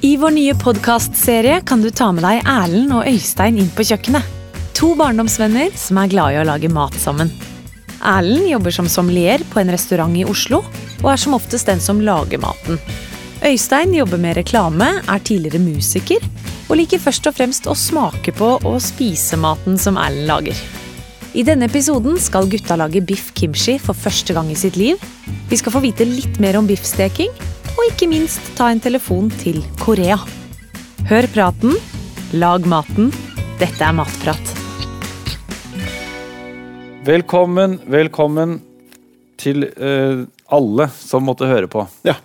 I vår nye podkastserie kan du ta med deg Erlend og Øystein inn på kjøkkenet. To barndomsvenner som er glad i å lage mat sammen. Erlend jobber som sommelier på en restaurant i Oslo, og er som oftest den som lager maten. Øystein jobber med reklame, er tidligere musiker, og liker først og fremst å smake på og spise maten som Erlend lager. I denne episoden skal gutta lage biff kimchi for første gang i sitt liv. Vi skal få vite litt mer om biffsteking, og ikke minst ta en telefon til Korea. Hør praten, lag maten. Dette er Matprat. Velkommen, velkommen til eh, alle som måtte høre på. Ja.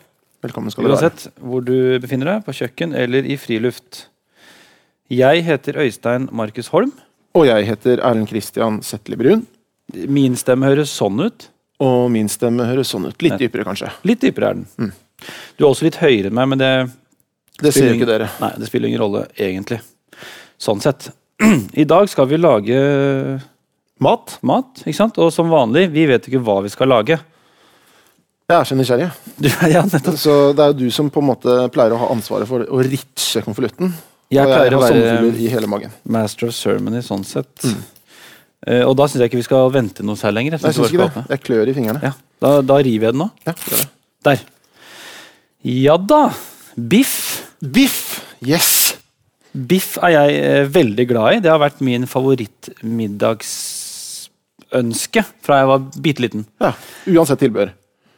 Velkommen skal du være. Uansett hvor du befinner deg, på kjøkken eller i friluft. Jeg heter Øystein Markus Holm. Og jeg heter Erlend Christian Setli Brun. Min stemme høres sånn ut. Og min stemme høres sånn ut. Litt dypere, kanskje. Litt dypere er den. Du er også litt høyere enn meg, men det, Mm. Det ser spiller jo ikke ingen- dere. Nei, det spiller ingen rolle, egentlig. Sånn sett. I dag skal vi lage Mat? mat, ikke sant? Og som vanlig, vi vet ikke hva vi skal lage. Jeg er så nysgjerrig. Du, ja, nettopp. Så det er jo du som på en måte pleier å ha ansvaret for å ritse konvolutten. Jeg og pleier å har være- sommerfugler i hele magen. Master of Ceremony, sånn sett. Eh, og da syns jeg ikke vi skal vente noe særlig lenger. Mm. Nei, jeg vi syns ikke bare skal det. åpne. Jeg klør i fingrene. Ja, da, da river jeg den nå. Ja, gjør det. Der. Ja da. Biff. Biff! Yes! Biff er jeg eh, veldig glad i. Det har vært min favorittmiddagsønske fra jeg var bitte liten. Ja. Uansett tilbehør.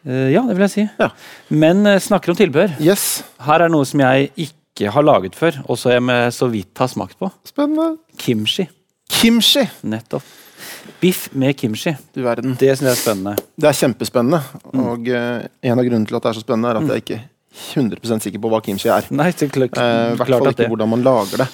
Eh, ja, det vil jeg si. Ja. Men eh, snakker om tilbehør. Yes. Her er noe som jeg ikke har laget før, og som jeg med så vidt har smakt på. Spennende. Kimchi. Kimchi. Nettopp. Biff med kimchi. Du verden. Det syns jeg er spennende. Det er kjempespennende. Mm. Og eh, en av grunnene til at det er så spennende, er at jeg ikke er 100 sikker på hva kimchi er. Nei, det er klart, Eh, I hvert klart fall at det. ikke hvordan man lager det.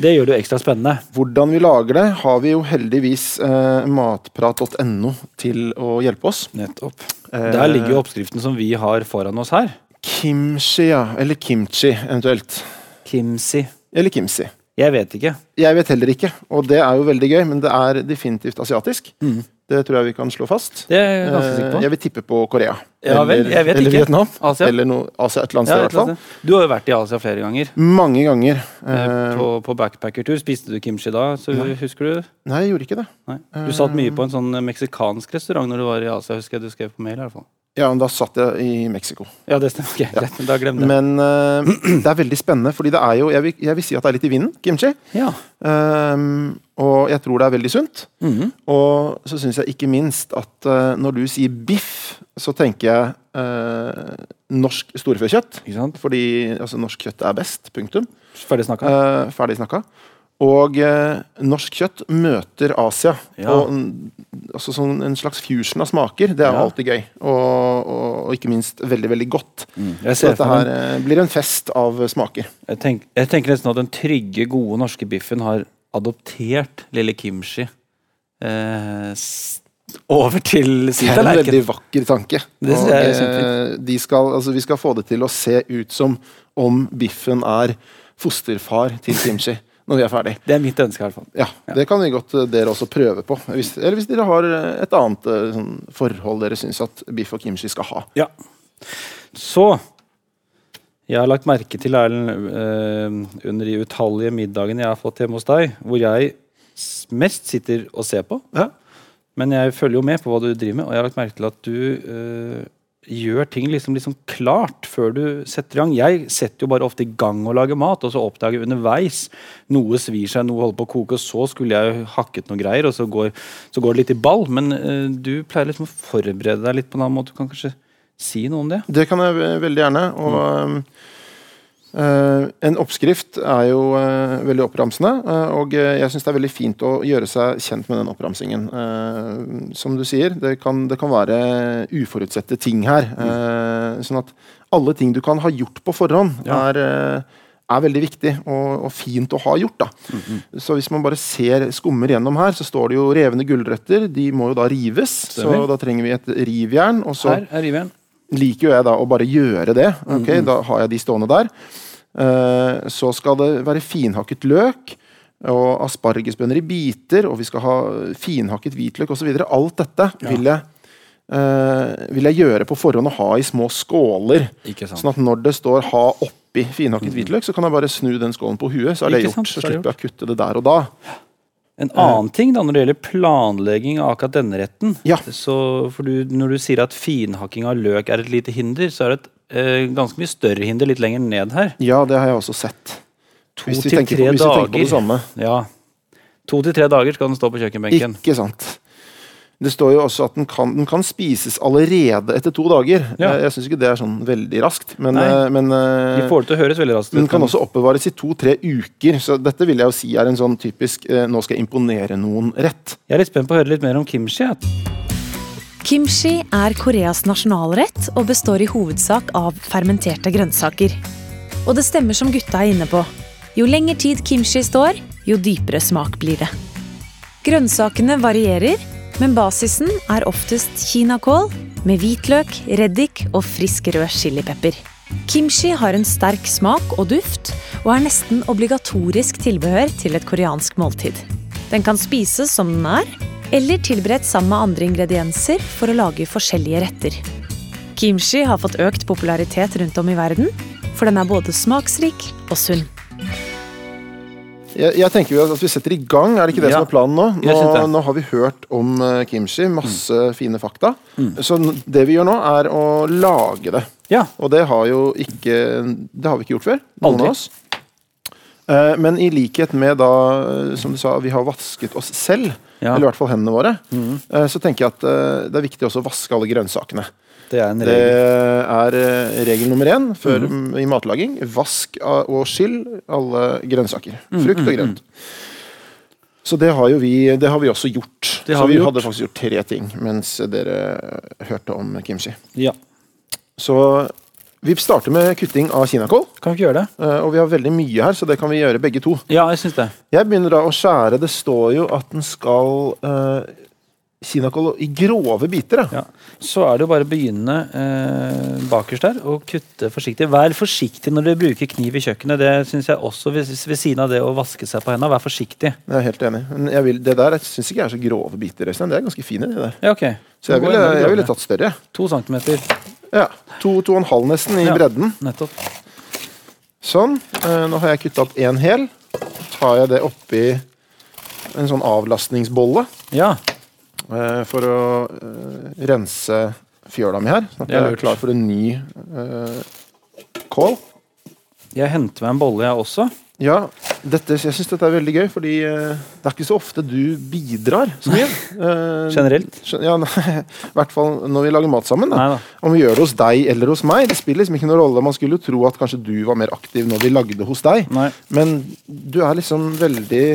Det gjør det jo ekstra spennende. Hvordan vi lager det, har vi jo heldigvis eh, matprat.no til å hjelpe oss. Nettopp. Eh, Der ligger jo oppskriften som vi har foran oss her. Kimchi, ja. Eller kimchi, eventuelt. Kimsi. Eller kimchi. Jeg vet ikke. Jeg vet heller ikke, og det er jo veldig gøy, men det er definitivt asiatisk. Det tror jeg vi kan slå fast. Mm. Det er jeg ganske sikker Eh, Jeg på. vil tippe på Korea. Ja vel, jeg vet eller ikke. Vietnam. Asia? Eller noe, Asia, et eller annet Ja, sted, i et hvert fall. eller annet sted. du har jo vært i Asia flere ganger. Mange ganger. Eh, Eh, På, på backpackertur. Spiste du kimchi da? Så husker Du Nei, Eh. jeg gjorde ikke det. Nei. Du satt mye på en sånn meksikansk restaurant når du var i Asia. husker jeg du skrev på mail i hvert fall. Ja, men da satt jeg i Mexico. Ja, det stemmer. Ok, greit. Da glem det. Men eh, det er veldig spennende, fordi det er jo Jeg vil, jeg vil si at det er litt i vinden, kimchi. Ja. Ehm, og jeg tror det er veldig sunt. Mhm. Og så syns jeg ikke minst at eh, når du sier biff, så tenker jeg eh, norsk storfekjøtt. Ikke sant? Fordi altså, norsk kjøtt er best. Punktum. Ferdig snakka. Eh, ferdig snakka. Og eh, norsk kjøtt møter Asia. Ja. Og en- altså, sånn, en slags fusion av smaker. Det er Ja. alltid gøy. Og, og, og ikke minst veldig, veldig godt. Mm. Jeg Så ser dette for meg her eh, blir en fest av smaker. Jeg, tenk, jeg tenker nesten at den trygge, gode norske biffen har adoptert lille kimchi eh, s- over til sin Det er en tallerken. veldig vakker tanke. Det synes Og, jeg er eh, de skal, altså, vi skal få det til å se ut som om biffen er fosterfar til kimchi når vi er ferdig. Det er mitt ønske, i hvert fall. Ja, Det kan vi godt eh, dere også prøve på. Hvis, eller hvis dere har eh, et annet eh, sånn, forhold dere syns at biff og kimchi skal ha. Ja. Så Jeg har lagt merke til, Erlend, eh, under de utallige middagene jeg har fått hjemme hos deg, hvor jeg s- mest sitter og ser på, men jeg følger jo med på hva du driver med, og jeg har lagt merke til at du eh, gjør ting liksom, liksom klart før du setter i gang. Jeg setter jo bare ofte i gang å lage mat, og så oppdager jeg underveis noe svir seg, noe holder på å koke, og så skulle jeg hakket noe greier, og så går, så går det litt i ball. Men eh, du pleier liksom å forberede deg litt på en annen måte. Du kan kanskje si noe om det? Det kan jeg ve- veldig gjerne. Og eh, en oppskrift er jo eh, veldig oppramsende, eh, og eh, jeg syns det er veldig fint å gjøre seg kjent med den oppramsingen. Eh, som du sier, det kan, det kan være uforutsette ting her. eh, sånn at alle ting du kan ha gjort på forhånd, Mm. Ja. er eh, er veldig viktig og, og fint å ha gjort. da. Mm-hmm. Så hvis man bare ser skummer gjennom her, så står det jo revne gulrøtter. De må jo da rives, Stemmer. så da trenger vi et rivjern. Og så Her er rivjern. liker jo jeg da å bare gjøre det. ok, Mm-hmm. Da har jeg de stående der. Eh, så skal det være finhakket løk og aspargesbønner i biter, og vi skal ha finhakket hvitløk osv. Alt dette vil, jeg, eh, vil jeg gjøre på forhånd og ha i små skåler. Ikke sant. Mm-hmm. Sånn at når det står 'ha oppi', oppi finhakket hvitløk, så kan jeg bare snu den skålen på huet. Så er det Ikke gjort. sant, Så så er det slipper jeg å kutte det der og da. En annen ting da, når det gjelder planlegging av akkurat denne retten Ja. så for du, Når du sier at finhakking av løk er et lite hinder, så er det et eh, ganske mye større hinder litt lenger ned her. Ja, det har jeg også sett. To Hvis vi til tenker på, tre hvis vi tenker på dager. det samme. Ja. To til tre dager skal den stå på kjøkkenbenken. Ikke sant. Det står jo også at den kan, den kan spises allerede etter to dager. Ja. Jeg, jeg syns ikke det er sånn veldig raskt, men, Nei. eh, men eh, De får det til å høres veldig raskt ut. den kan men- også oppbevares i to-tre uker, så dette vil jeg jo si er en sånn typisk eh, 'nå skal jeg imponere noen'-rett. Jeg er litt spent på å høre litt mer om kimchi. jeg. Kimchi er Koreas nasjonalrett og består i hovedsak av fermenterte grønnsaker. Og det stemmer som gutta er inne på. Jo lenger tid kimchi står, jo dypere smak blir det. Grønnsakene varierer, men basisen er oftest kinakål med hvitløk, reddik og frisk rød chilipepper. Kimchi har en sterk smak og duft, og er nesten obligatorisk tilbehør til et koreansk måltid. Den kan spises som den er, eller tilberedt sammen med andre ingredienser for å lage forskjellige retter. Kimchi har fått økt popularitet rundt om i verden, for den er både smaksrik og sunn. Jeg, jeg tenker jo at vi setter i gang, er det ikke det Ja. som er planen nå? Jeg synes Nå, det. Mm. nå har vi hørt om eh, kimchi, masse fine fakta. Så n- det vi gjør nå, er å lage det. Ja. Og det har jo ikke Det har vi ikke gjort før, noen Aldri. av oss. Eh, Men i likhet med da, eh, som du sa, vi har vasket oss selv, Ja. Mm. eller i hvert fall hendene våre, eh, så tenker jeg at eh, det er viktig også å vaske alle grønnsakene. Det er en Det regel. Mhm. er eh, regel nummer én før, m, i matlaging. Vask a- og skyll alle grønnsaker. Mhm. Frukt og grønt. Så det har jo vi, det har vi også gjort. Det Så har vi vi gjort. hadde faktisk gjort tre ting mens dere hørte om kimchi. Ja. Så vi starter med kutting av kinakål. Kan vi ikke gjøre det? eh, Og vi har veldig mye her, så det kan vi gjøre begge to. Ja, jeg syns det. Jeg begynner da å skjære. Det står jo at den skal eh, Kinakål i grove biter. Da. Ja. Så er det jo bare å begynne eh, bakerst der og kutte forsiktig. Vær forsiktig når dere bruker kniv i kjøkkenet. Det syns jeg også ved, ved siden av det å vaske seg på hendene. Vær forsiktig. Jeg er helt enig. Men jeg vil, det der syns ikke jeg er så grove biter. Øystein. Det er ganske fine, det der. Ja, ok. Så jeg Gå ville, enda litt jeg grovere. ville tatt større. jeg. To centimeter. Ja, to, to og en halv nesten i Ja. bredden. Nettopp. Sånn. Eh, Nå har jeg kutta opp én hel. Så tar jeg det oppi en sånn avlastningsbolle Ja. eh, for å eh, rense fjøla mi her. Sånn at Det er jeg lurt. er klar for en ny eh, kål. Jeg henter meg en bolle, jeg også. Ja, dette, jeg syns dette er veldig gøy, fordi eh, det er ikke så ofte du bidrar så mye. Eh, Generelt. skjø- Ja, I hvert fall når vi lager mat sammen. Da. Nei da. Om vi gjør det hos deg eller hos meg, det spiller liksom ikke noen rolle. Man skulle jo tro at kanskje du var mer aktiv når vi lagde hos deg, Nei. men du er liksom veldig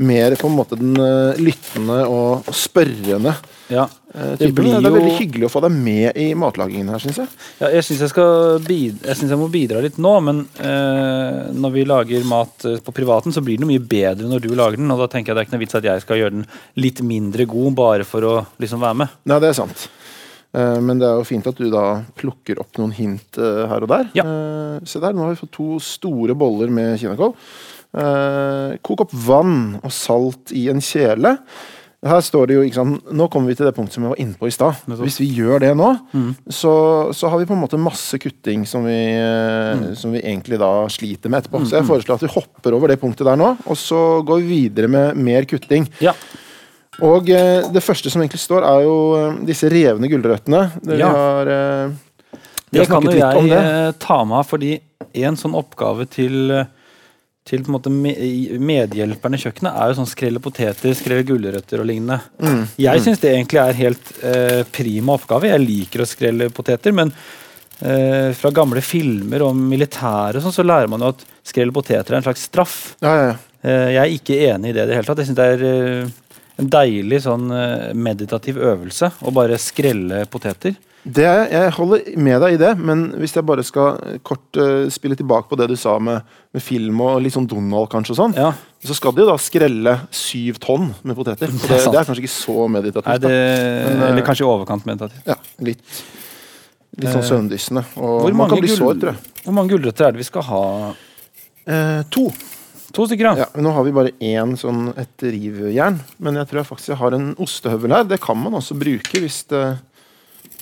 mer på en måte den eh, lyttende og spørrende Ja. eh, Det typen. blir Det er jo- veldig hyggelig å få deg med i matlagingen her, syns jeg. Ja, jeg syns jeg, skal bid- jeg, synes jeg må bidra litt nå, men eh, når vi lager mat eh, på privaten, så blir den jo mye bedre når du lager den. Og da tenker jeg det er ikke noe vits at jeg skal gjøre den litt mindre god bare for å liksom være med. Nei, det er sant. Eh, Men det er jo fint at du da plukker opp noen hint eh, her og der. Ja. Eh, Se der, nå har vi fått to store boller med kinakål. Eh, Kok opp vann og salt i en kjele. Her står det jo, ikke sant, Nå kommer vi til det punktet som jeg var inne på i stad. Nettopp. Mm. Hvis vi gjør det nå, så, så har vi på en måte masse kutting som vi, eh, Mm. som vi egentlig da sliter med etterpå. Så jeg foreslår at vi hopper over det punktet der nå, og så går vi videre med mer kutting. Ja. Og eh, det første som egentlig står, er jo eh, disse revne gulrøttene. Det vi Ja. har eh, vi Det har kan snakket jo litt om jeg det. eh, ta meg av, fordi en sånn oppgave til eh, til på en måte me- i- medhjelperne i kjøkkenet er jo sånn skrelle poteter, skrelle gulrøtter og lignende. Mm. Jeg syns det egentlig er helt eh, prima oppgave. Jeg liker å skrelle poteter, men eh, fra gamle filmer om militæret og sånn, så lærer man jo at skrelle poteter er en slags straff. Ja, ja, ja. Eh, jeg er ikke enig i det i det hele tatt. Jeg syns det er eh, en deilig sånn eh, meditativ øvelse å bare skrelle poteter. Det, er- jeg holder med deg i det, men hvis jeg bare skal eh, kort eh, spille tilbake på det du sa med, med film og litt sånn Donald kanskje og sånn, Ja. så skal de jo da skrelle syv tonn med poteter. Og er det, sant. det er kanskje ikke så meditativt. Er det, Men, eh, eller kanskje i overkant meditativt. da. Ja, litt, litt sånn søvndyssende. Og Eh, Hvor man mange, kan bli gull- sår, tror jeg. hvor mange gulrøtter er det vi skal ha? Eh, to. To stykker, ja. Ja, men nå har vi bare én sånn et rivjern, men jeg tror jeg faktisk jeg har en ostehøvel her. Det kan man også bruke hvis det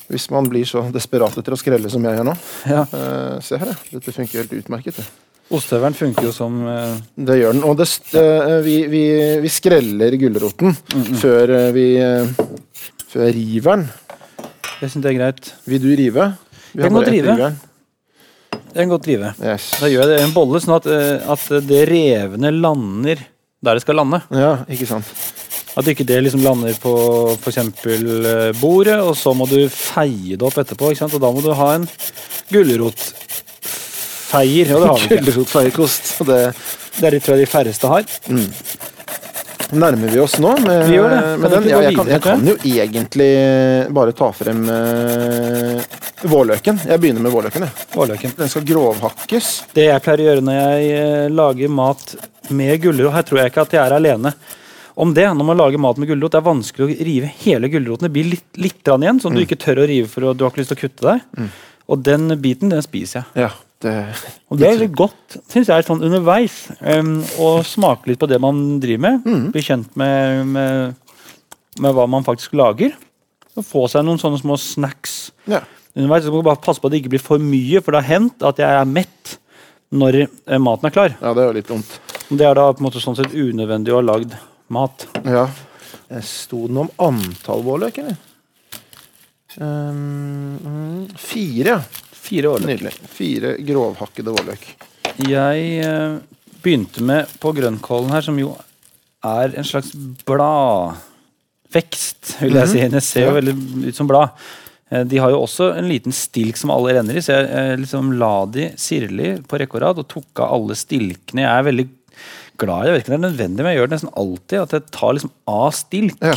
Hvis man blir så desperat etter å skrelle som jeg gjør nå. Ja. Eh, se her, ja. Dette funker helt utmerket. Det, Ostehøvelen funker jo som eh, det gjør den. Og det, st- eh, vi, vi, vi skreller gulroten før eh, vi eh, Før river den. Jeg syns det er greit. Vil du rive? Jeg kan Vi bare godt ett rive. rivjern. Jeg kan godt rive. Yes. Da gjør jeg det i en bolle, sånn at, eh, at det revne lander der det skal lande. Ja, ikke sant. At ikke det liksom lander på f.eks. bordet, og så må du feie det opp etterpå. ikke sant? Og da må du ha en gulrotfeier, og det har vi ikke. Gulrotfeiekost. og Det Det er det tror jeg de færreste har. nærmer vi oss nå. Med, Vi gjør det. Kan med vi den. ikke Ja, gå jeg, kan, videre jeg til kan jo egentlig bare ta frem eh, vårløken. Jeg begynner med vårløken. Jeg. Vårløken. Den skal grovhakkes. Det jeg pleier å gjøre når jeg eh, lager mat med gulrot Her tror jeg ikke at jeg er alene om det. Når man lager mat med gulrot, det er vanskelig å rive hele gulroten. Det blir litt, litt grann igjen, som du ikke tør å rive for å- du har ikke lyst til å kutte deg. Og den biten, den spiser jeg. Ja, det, Og det er veldig godt, syns jeg, sånn underveis. em, Å smake litt på det man driver med. Bli kjent med, med, med hva man faktisk lager. Og få seg noen sånne små snacks ja. underveis. Så må du bare passe på at det ikke blir for mye, for det har hendt at jeg er mett når eh, maten er klar. ja, det er jo litt vondt. Det er da på en måte sånn sett unødvendig å ha lagd mat. Ja. Eh, Sto det noe om antall vårløk, eller? Ehm, mm, fire, ja. Fire år. Nydelig. Fire grovhakkede vårløk. Jeg eh, begynte med på grønnkålen her, som jo er en slags bladvekst, vil jeg si. Det ser jo Mhm. Ja. veldig ut som blad. Eh, De har jo også en liten stilk som alle renner i, så jeg eh, liksom la de sirlig på rekke og rad og tok av alle stilkene. Jeg er veldig glad i det. Jeg vet ikke om det er nødvendig, men jeg gjør det nesten alltid. At jeg tar liksom av stilk. Ja.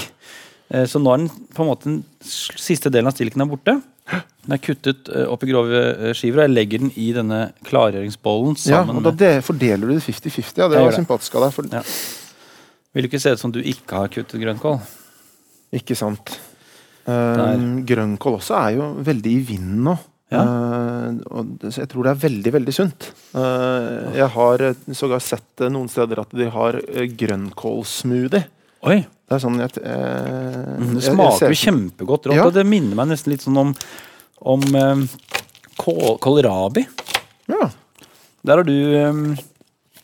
Eh, Så nå er den på en måte den s- siste delen av stilken er borte. Den er kuttet eh, opp i grove eh, skiver, og jeg legger den i denne klargjøringsbollen Ja, sammen og da med de, fordeler du det 50-50. Ja, det Jeg var gjør det. sympatisk av deg. For, Ja. Vil det ikke se ut som du ikke har kuttet grønnkål? Ikke sant. Ehm, grønnkål også er jo veldig i vinden nå. Ja. Ehm, og det, så jeg tror det er veldig, veldig sunt. Ehm, jeg har eh, sågar sett eh, noen steder at de har eh, grønnkålsmoothie. Oi, Det er sånn jeg, t- eh, Mm, Det jeg- jeg ser- smaker jo kjempegodt rått. Ja. Og det minner meg nesten litt sånn om, om eh, kål, kålrabi. Ja. Der har du eh,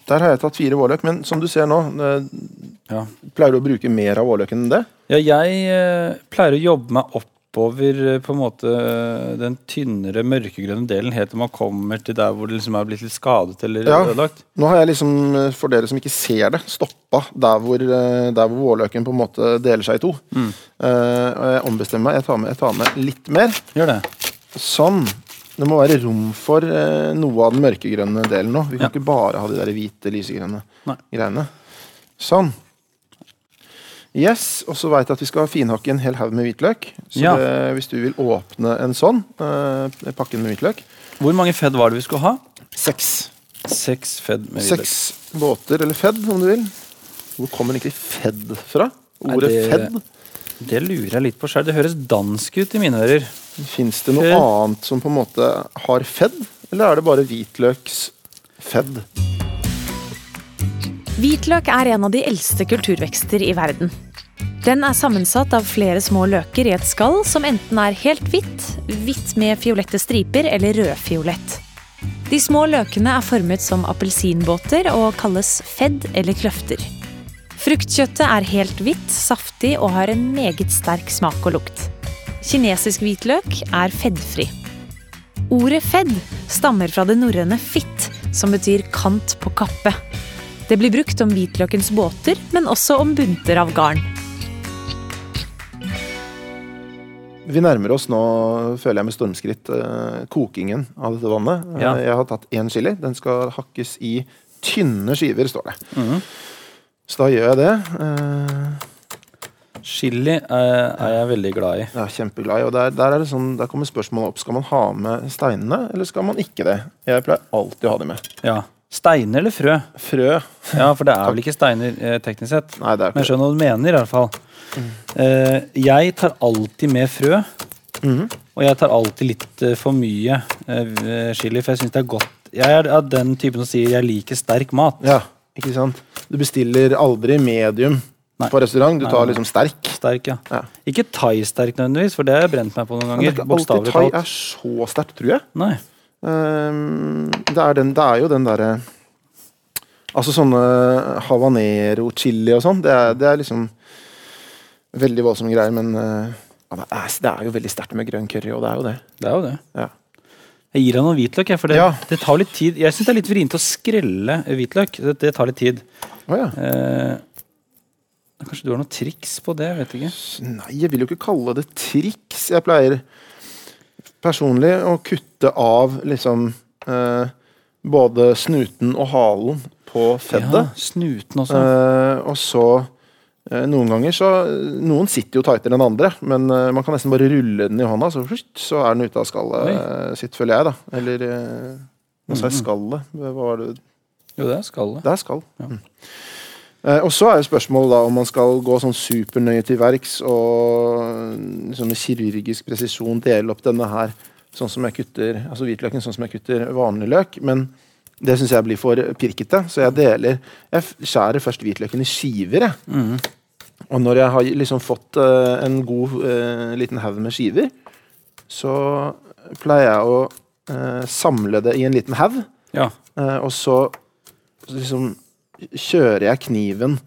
Der har jeg tatt fire vårløk, men som du ser nå, eh, ja. pleier du å bruke mer av vårløken enn det? ja, jeg eh, pleier å jobbe meg oppover eh, på en måte eh, den tynnere, mørkegrønne delen helt til man kommer til der hvor det liksom er blitt litt skadet eller Ja. ødelagt. Nå har jeg liksom, eh, for dere som ikke ser det, stoppa der hvor, eh, der hvor vårløken på en måte deler seg i to. Mm. Eh, og jeg ombestemmer meg. Jeg tar med, jeg tar med litt mer. Gjør det. Sånn. Det må være rom for eh, noe av den mørkegrønne delen nå. Vi kan Ja. ikke bare ha de der hvite, lysegrønne Nei. greiene. Sånn. Yes, Og så veit jeg at vi skal finhakke en hel haug med hvitløk. Så Ja. det, hvis du vil åpne en sånn, eh, pakken med hvitløk Hvor mange fedd var det vi skulle ha? Seks. Seks fedd med hvitløk. Seks båter, eller fedd, om du vil. Hvor kommer egentlig fedd fra? Nei, Ordet det- fedd? Det lurer jeg litt på sjøl. Det høres dansk ut i mine ører. Fins det noe Fedd. annet som på en måte har fedd, eller er det bare hvitløks fedd? Hvitløk er en av de eldste kulturvekster i verden. Den er sammensatt av flere små løker i et skall som enten er helt hvitt, hvitt med fiolette striper eller rødfiolett. De små løkene er formet som appelsinbåter og kalles fedd eller kløfter. Fruktkjøttet er helt hvitt, saftig og har en meget sterk smak og lukt. Kinesisk hvitløk er feddfri. Ordet fedd stammer fra det norrøne fitt, som betyr kant på kappe. Det blir brukt om hvitløkens båter, men også om bunter av garn. Vi nærmer oss nå, føler jeg med stormskritt, eh, kokingen av dette vannet. Eh, Ja. Jeg har tatt én chili. Den skal hakkes i tynne skiver, står det. Mhm. Så da gjør jeg det. Eh, Chili eh, er jeg veldig glad i. Jeg er kjempeglad i og der, der, er det sånn, der kommer spørsmålet opp. Skal man ha med steinene, eller skal man ikke det? Jeg pleier alltid å ha de med. Ja. Steiner eller frø? Frø Ja, for det er vel ikke steiner eh, teknisk sett. Nei, det er Men ikke jeg skjønner hva du mener, i hvert fall. Mm. Eh, jeg tar alltid med frø. Mhm. Og jeg tar alltid litt eh, for mye eh, v- chili, for jeg syns det er godt. Jeg er av den typen som sier jeg liker sterk mat. Ja, ikke sant? Du bestiller aldri medium Nei. på restaurant. Du Nei, tar nei. liksom sterk. Sterk, ja. Ja. Ikke thai-sterk nødvendigvis, for det har jeg brent meg på noen Men det ganger. er ikke alltid Bokstavelig thai talt. er så sterkt, tror jeg. Nei. Ehm, det, er den, det er jo den derre Altså sånne havanero, chili og sånn, det, er- det er liksom veldig voldsomme greier, men eh, ja, det, er, det er jo veldig sterkt med grønn curry, og det er jo det. Det er jo det. Ja. Jeg gir deg noe hvitløk, jeg, for det, Ja. det tar litt tid. Jeg syns det er litt vrient å skrelle hvitløk. Det, det tar litt tid. Å ja. Eh, kanskje du har noen triks på det? Jeg vet ikke. Nei, jeg vil jo ikke kalle det triks. Jeg pleier personlig å kutte av liksom eh, både snuten og halen på feddet. Ja, snuten også. Eh, og så eh, Noen ganger så Noen sitter jo tightere enn andre, men eh, man kan nesten bare rulle den i hånda, så, flytt, så er den ute av skallet eh, sitt, føler jeg, da. Eller eh, Nå sa jeg skallet. Hva var det jo, det er skallet. Det er skall. Ja. Mm. Eh, og så er jo spørsmålet da om man skal gå sånn supernøye til verks og eh, liksom med kirurgisk presisjon dele opp denne her sånn som jeg kutter altså hvitløken sånn som jeg kutter vanlig løk. Men det syns jeg blir for pirkete, så jeg deler Jeg f- skjærer først hvitløken i skiver, jeg. Mhm. Og når jeg har liksom fått eh, en god eh, liten haug med skiver, så pleier jeg å eh, samle det i en liten haug. Ja. Eh, og så liksom kjører jeg kniven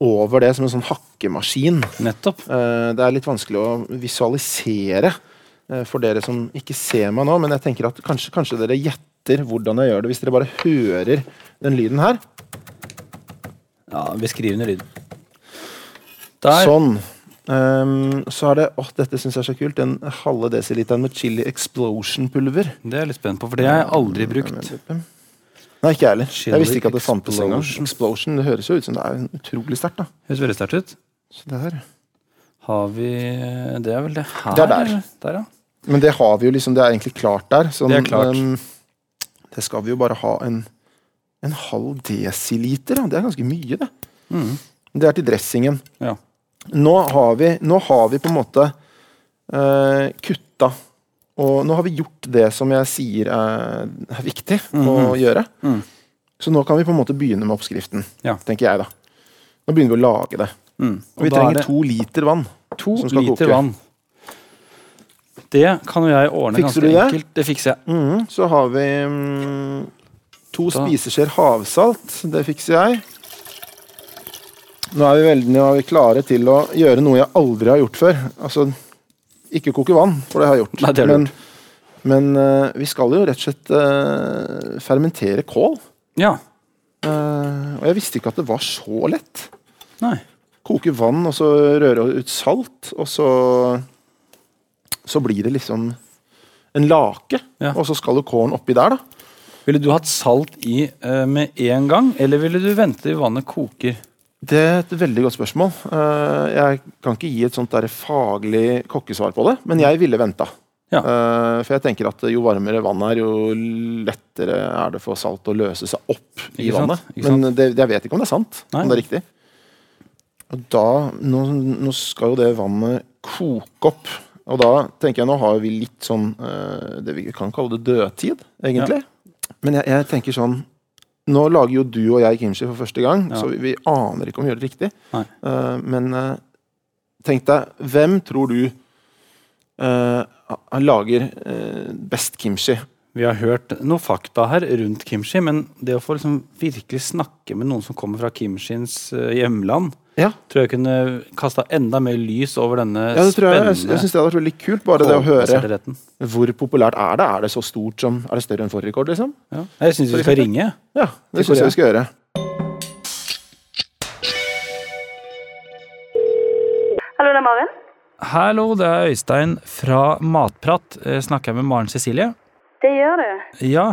over det som en sånn hakkemaskin. Nettopp. Eh, det er litt vanskelig å visualisere eh, for dere som ikke ser meg nå, men jeg tenker at kanskje, kanskje dere gjetter hvordan jeg gjør det, hvis dere bare hører den lyden her. Ja, Beskrivende lyd. Der. Sånn. Ehm, så er det åh, dette syns jeg er så kult. Den halve desiliteren med chili explosion-pulver. Det er jeg litt spent på, for det har jeg aldri brukt. ehm, Nei, ikke jeg heller. Chili Jeg visste ikke at det fantes engang. explosion. Explosion, det høres jo ut som det er utrolig sterkt, da. Høres veldig sterkt ut. Så det her. Har vi eh, Det er vel det her? Det er der. eller? der ja. Men det har vi jo liksom, det er egentlig klart der. Sånn, Det er klart. ehm, det skal vi jo bare ha en, en halv desiliter, da. Det er ganske mye, det. Mhm. Det er til dressingen. ja. Nå har vi, nå har vi på en måte eh, kutta Og nå har vi gjort det som jeg sier er, er viktig å Mhm. gjøre. Mhm. Så nå kan vi på en måte begynne med oppskriften, Ja. tenker jeg, da. Nå begynner vi å lage det. Mhm. Og vi da er trenger det to liter vann. to som skal liter koke. vann. Det kan jo jeg ordne Fikser du ganske det? enkelt. Det fikser jeg. Mhm, så har vi mm, to Da- spiseskjeer havsalt. Det fikser jeg. Nå er vi veldig nå er vi klare til å gjøre noe jeg aldri har gjort før. Altså, ikke koke vann, for det har jeg gjort. Nei, det har du men men eh, vi skal jo rett og slett eh, fermentere kål. Ja. Eh, og jeg visste ikke at det var så lett. Nei. Koke vann, og så røre ut salt, og så Så blir det liksom en lake. Ja. Og så skal jo kålen oppi der, da. Ville du hatt salt i eh, med en gang, eller ville du vente til vannet koker? Det er et veldig godt spørsmål. Eh, Jeg kan ikke gi et sånt der faglig kokkesvar på det, men jeg ville venta. Ja. Eh, For jeg tenker at jo varmere vannet er, jo lettere er det for salt å løse seg opp i Ikke sant? vannet. Ikke sant? Men det, jeg vet ikke om det er sant. Nei. Om det er riktig. Og da nå, nå skal jo det vannet koke opp. Og da tenker jeg nå har vi litt sånn eh, det vi kan kalle det dødtid, egentlig. Men jeg, jeg tenker sånn nå lager jo du og jeg kimchi for første gang, Ja. så vi, vi aner ikke om vi gjør det riktig. Nei. Eh, men eh, tenk deg, hvem tror du eh, han lager eh, best kimchi? Vi har hørt noe fakta her rundt kimchi, men det å få liksom virkelig snakke med noen som kommer fra kimchins eh, hjemland, Ja, tror jeg kunne kasta enda mer lys over denne ja det tror jeg. Jeg, jeg spennende syns det hadde vært veldig kult. Bare det å høre kålbaserte retten. hvor populært er det. Er det så stort som Er det større enn forrige rekord, liksom? Ja. Jeg syns vi skal ringe. Ja, det Til syns Korea. jeg vi skal gjøre. Hallo, det er Maren. Hallo, det er Øystein fra Matprat. Eh, Snakker jeg med Maren Cecilie? Det gjør du. Ja.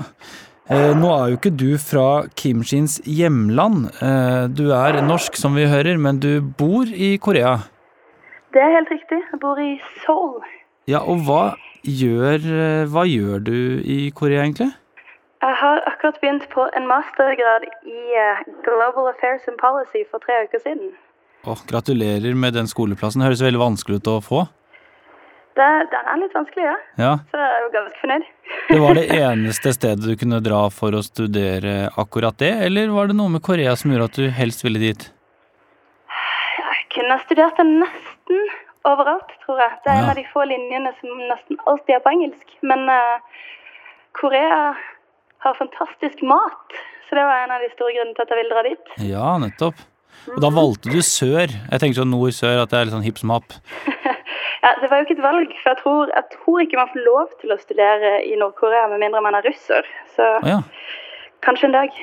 Eh, nå er jo ikke du fra Kimchins hjemland. Eh, du er norsk, som vi hører, men du bor i Korea. Det er helt riktig. Jeg bor i Seoul. Ja, og hva gjør, eh, hva gjør du i Korea, egentlig? Jeg har akkurat begynt på en mastergrad i eh, Global Affairs and Policy for tre uker siden. Åh, gratulerer med den skoleplassen. Det høres veldig vanskelig ut å få. Det, den er litt vanskelig, ja. Ja, Så jeg er jo ganske fornøyd. Det var det eneste stedet du kunne dra for å studere akkurat det, eller var det noe med Korea som gjorde at du helst ville dit? Jeg Hun har studert den nesten overalt, tror jeg. Det er en Ja. av de få linjene som nesten alltid er på engelsk. Men eh, Korea har fantastisk mat, så det var en av de store grunnene til at jeg ville dra dit. Ja, nettopp. Og da valgte du sør. Jeg tenker sånn nord-sør, at det er litt sånn hipp som happ. Ja, Det var jo ikke et valg, for jeg tror, jeg tror ikke man får lov til å studere i Nord-Korea med mindre man er russer. Så Å ja. kanskje en dag.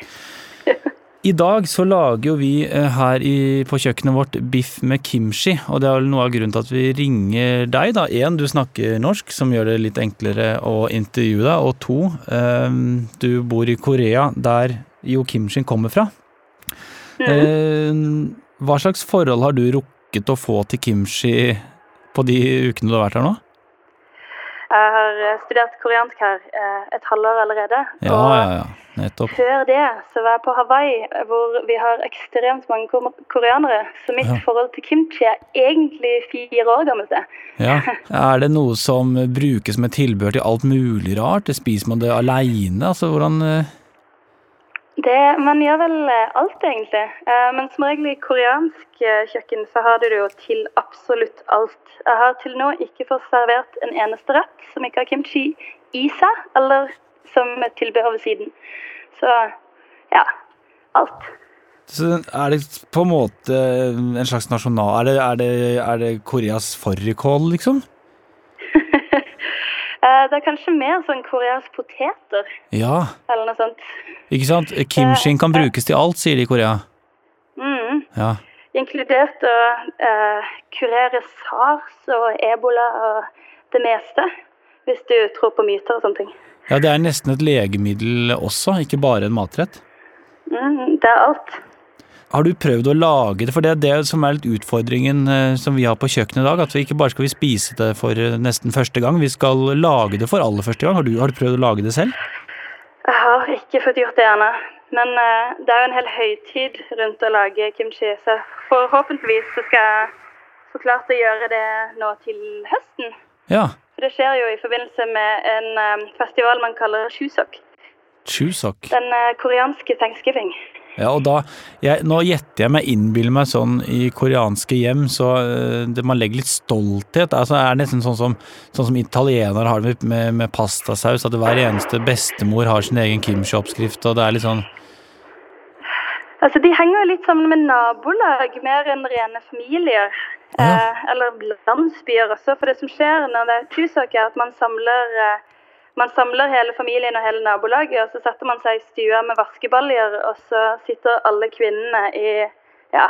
I dag så lager jo vi eh, her i, på kjøkkenet vårt biff med kimchi, og det er vel noe av grunnen til at vi ringer deg, da. Én, du snakker norsk, som gjør det litt enklere å intervjue deg, og to, ehm, du bor i Korea, der jo kimchien kommer fra. Mm. Mm. Ehm, hva slags forhold har du rukket å få til kimchi på de ukene du har vært her nå? Jeg har eh, studert koreansk her eh, et halvår allerede. Ja, og ja, ja. Nettopp. Før det så var jeg på Hawaii, hvor vi har ekstremt mange kom- koreanere. Så mitt Ja. forhold til kimchi er egentlig fire år gammelt. det. Ja. Er det noe som brukes med tilbehør til alt mulig rart? Spiser man det aleine? Altså, hvordan eh, Det, man gjør vel eh, alt, egentlig. Eh, Men som regel i koreansk eh, kjøkken så har du det jo til absolutt alt. Jeg har til nå ikke fått servert en eneste rett som ikke har kimchi i seg, eller som et tilbehør ved siden. Så ja, alt. Så er det på en måte en slags nasjonal Er det, er det, er det Koreas fårikål, liksom? Eh, Det er kanskje mer sånn koreansk poteter Ja, eller noe sånt. ikke sant? Kimshin kan brukes til alt, sier de i Korea. Mm. Ja. Inkludert å eh, kurere sars og ebola og det meste. Hvis du tror på myter og sånne ting. ja, det er nesten et legemiddel også, ikke bare en matrett. Mm, det er alt. Har du prøvd å lage det? For det er det som er litt utfordringen eh, som vi har på kjøkkenet i dag. At vi ikke bare skal vi spise det for eh, nesten første gang, vi skal lage det for aller første gang. Har du, har du prøvd å lage det selv? Jeg har ikke fått gjort det ennå. Men eh, det er jo en hel høytid rundt å lage kimchi, så forhåpentligvis så skal jeg få klart å gjøre det nå til høsten. Ja. For det skjer jo i forbindelse med en eh, festival man kaller Chuseok. Chuseok. Den eh, koreanske thanksgiving. Ja, og da, jeg, nå gjetter jeg meg, innbiller meg sånn i koreanske hjem, så eh, det, man legger litt stolthet. Altså, det er nesten sånn som, sånn som italienere har det med, med, med pastasaus, at hver eneste bestemor har sin egen kimchi-oppskrift, og det er litt sånn Altså, De henger jo litt sammen med nabolag, mer enn rene familier. Eh, eller landsbyer også. For det som skjer når det er tusåk, er at man samler, eh, man samler hele familien og hele nabolaget, og så setter man seg i stua med vaskebaljer, og så sitter alle kvinnene i, ja,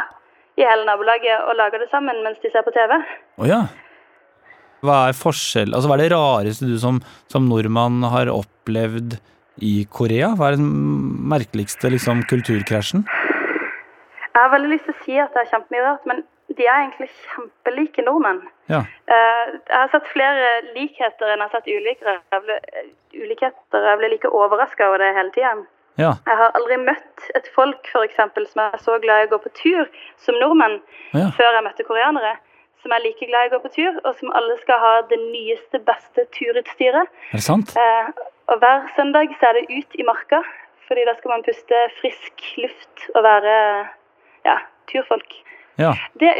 i hele nabolaget og lager det sammen mens de ser på TV. Å ja. Hva er forskjell Altså, hva er det rareste du som, som nordmann har opplevd i Korea? Hva er den merkeligste liksom, kulturkrasjen? Jeg har veldig lyst til å si at det er kjempemye rart, men de er egentlig kjempelike nordmenn. Ja. Eh, jeg har sett flere likheter enn jeg har sett ulikheter. Jeg ble, eh, ulikheter. Jeg ble like overraska over det hele tida. ja. Jeg har aldri møtt et folk for eksempel, som er så glad i å gå på tur som nordmenn, Ja. før jeg møtte koreanere. Som er like glad i å gå på tur, og som alle skal ha det nyeste, beste turutstyret. Er det sant? Eh, og hver søndag så er det ut i marka, fordi da skal man puste frisk luft og være ja, turfolk. Ja. Det,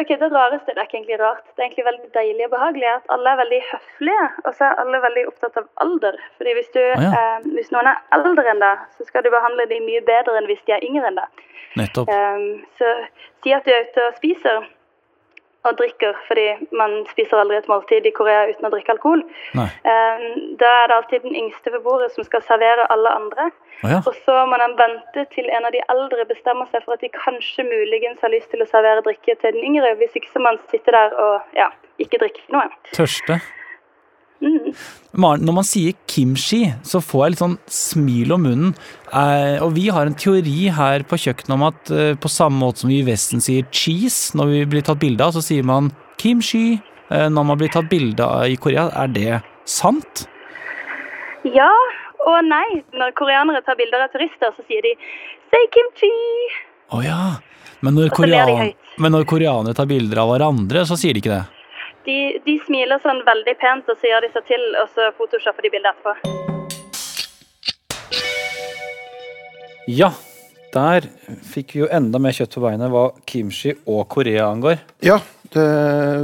ok, det rareste det er ikke egentlig rart. Det er egentlig veldig deilig og behagelig at alle er veldig høflige, og så er alle veldig opptatt av alder. Fordi hvis, du, ja. eh, hvis noen er eldre enn deg, så skal du behandle dem mye bedre enn hvis de er yngre enn deg. Nettopp. Eh, så si at du er ute og spiser og drikker, fordi man spiser aldri et måltid i Korea uten å drikke alkohol. Nei. Eh, da er det alltid den yngste ved bordet som skal servere alle andre. Å ja. Og så må den vente til en av de eldre bestemmer seg for at de kanskje muligens har lyst til å servere drikke til den yngre, hvis ikke så man sitter der og ja, ikke drikker noe. Tørste. Mm. Maren, når man sier kimchi, så får jeg litt sånn smil om munnen. Eh, og vi har en teori her på kjøkkenet om at eh, på samme måte som vi i Vesten sier cheese når vi blir tatt bilde av, så sier man kimchi eh, når man blir tatt bilde av i Korea. Er det sant? Ja og nei. Når koreanere tar bilder av turister, så sier de «Say kimchi!» Å ja. Men når, Og så ler de korean, høyt. men når koreanere tar bilder av hverandre, så sier de ikke det. De, de smiler sånn veldig pent, og så gjør de seg til, og så photoshopper de bildet etterpå. Ja, der fikk vi jo enda mer kjøtt på beinet hva kimchi og Korea angår. Ja, det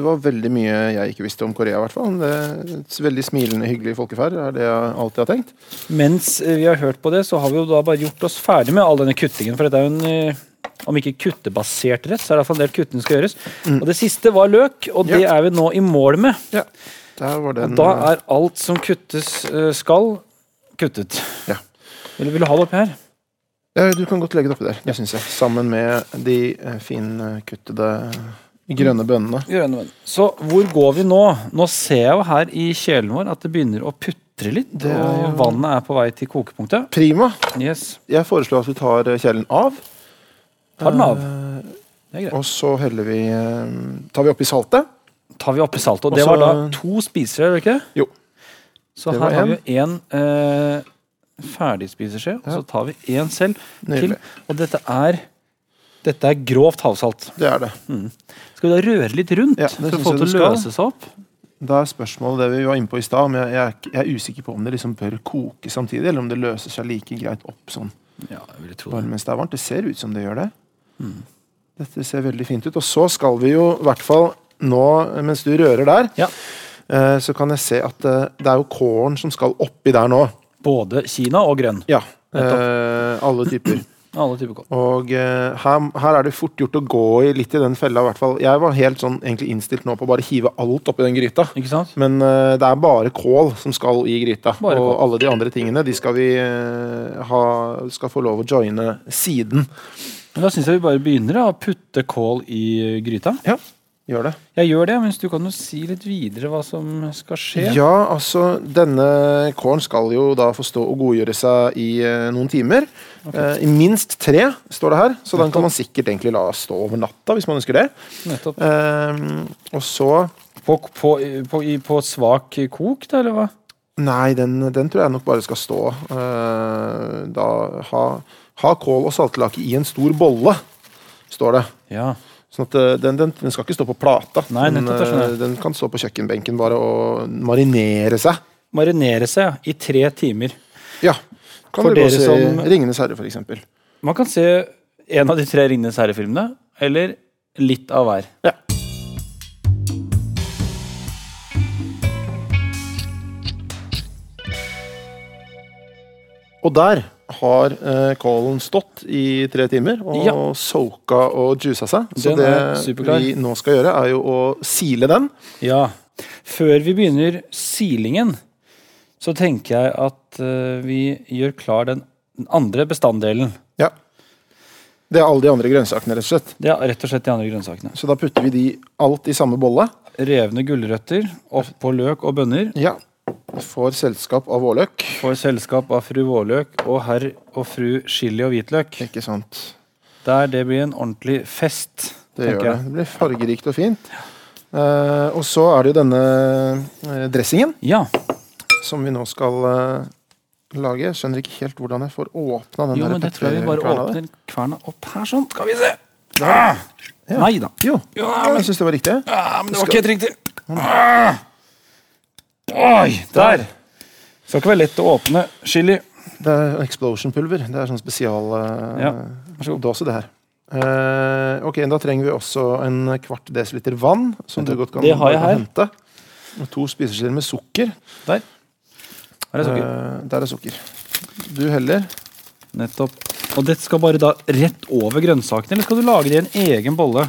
var veldig mye jeg ikke visste om Korea, i hvert fall. Det er et veldig smilende, hyggelig folkeferd, er det jeg alltid har tenkt. Mens eh, vi har hørt på det, så har vi jo da bare gjort oss ferdig med all denne kuttingen. For dette er jo en eh, om ikke kuttebasert rett, så er det iallfall en del kutting som skal gjøres. Og det siste var løk, og det Mm. Ja. er vi nå i mål med. Ja, der var den Da er alt som kuttes eh, skal, kuttet. Ja. Vil, vil du ha det oppi her? Ja, Du kan godt legge det oppi der, det syns jeg. Sammen med de eh, finkuttede grønne bønnene. Grønne venn. Så hvor går vi nå? Nå ser jeg jo her i kjelen vår at det begynner å putre litt. Det er jo- Og vannet er på vei til kokepunktet. Prima. Yes. Jeg foreslår at vi tar kjelen av, Eh, Tar den av. Det er greit. og så heller vi eh, Tar vi oppi saltet? Tar vi oppi saltet. Og Og det så- var da to spisere, var det ikke det? Jo. Så Det her var har vi jo én eh, ferdigspiseskje, og så tar vi én selv Nydelig. til. Og dette er dette er grovt havsalt. Det er det. Skal vi da røre litt rundt Ja, det for å synes få jeg det du til å skal. løse seg opp? Da er spørsmålet det vi var inne på i stad, men jeg er, ikke- jeg er usikker på om det liksom bør koke samtidig, eller om det løser seg like greit opp sånn Ja, jeg ville tro bare mens det er varmt. Det ser ut som det gjør det. Dette ser veldig fint ut. Og så skal vi jo i hvert fall nå, mens du rører der, Ja. eh, så kan jeg se at eh, det er jo kålen som skal oppi der nå. Både Kina og grønn. Ja. Eh, alle typer. Alle typer kål. Og eh, her, her er det fort gjort å gå i litt i den fella, i hvert fall. Jeg var helt sånn egentlig innstilt nå på å bare hive alt oppi den gryta. Ikke sant? Men eh, det er bare kål som skal i gryta. Bare og kål. alle de andre tingene de skal vi eh, ha, skal få lov å joine siden. Men Da syns jeg vi bare begynner da, å putte kål i eh, gryta. Ja, gjør det. Jeg gjør det, mens du kan jo si litt videre hva som skal skje. Ja, altså denne kålen skal jo da få stå og godgjøre seg i eh, noen timer. Eh, I minst tre, står det her. Så den kan man sikkert egentlig la stå over natta hvis man ønsker det. Nettopp. Eh, og så På, på, på, i, på svak kok, da, eller hva? Nei, den, den tror jeg nok bare skal stå. Eh, da ha, ha kål og saltlake i en stor bolle, står det. Ja. Sånn at eh, den, den, den skal ikke stå på plata. Nei, den, nettopp, det skjønner jeg. eh, den kan stå på kjøkkenbenken bare og marinere seg. Marinere seg ja, i tre timer. Ja. Kan For du gå dere og se som- Ringenes herre, for eksempel. Man kan se en av de tre Ringenes herre-filmene, eller litt av hver. Ja. Og der har eh, kålen stått i tre timer og Ja. soaka og juica seg. Så Den det er superklar. vi nå skal gjøre, er jo å sile den. Ja. Før vi begynner silingen, så tenker jeg at eh, vi gjør klar den, den andre bestanddelen. Ja. Det er alle de andre grønnsakene, rett og slett. Det er rett og slett de andre grønnsakene. Så da putter vi de alt i samme bolle. Revne gulrøtter oppå løk og bønner. Ja. Får selskap av vårløk. Får selskap av fru Vårløk og herr og fru chili og hvitløk. Ikke sant. Der det blir en ordentlig fest. Det tenker gjør det. jeg. Det blir fargerikt og fint. Eh, og så er det jo denne eh, dressingen Ja. som vi nå skal eh, lage. Jeg skjønner ikke helt hvordan jeg får åpna den Jo, der men det tror jeg vi bare pepperkverna der. åpner kverna opp her, sånn. Skal vi se. Ah! Nei da. Jo, Ja, jeg syns det var riktig. Ah, men det var ikke helt riktig. Ah! Oi, der. Skal ikke være lett å åpne chili. Det er explosion-pulver. Det er sånn spesial eh, Ja, vær så god. dåse, det her. Eh, ok, Da trenger vi også en kvart desiliter vann, som du godt kan Det har jeg bare her. hente. Og to spiseskjeer med sukker. Der. Her er sukker. Eh, der er sukker. Du heller. Nettopp. Og dette skal bare da rett over grønnsakene, eller skal du lage det i en egen bolle?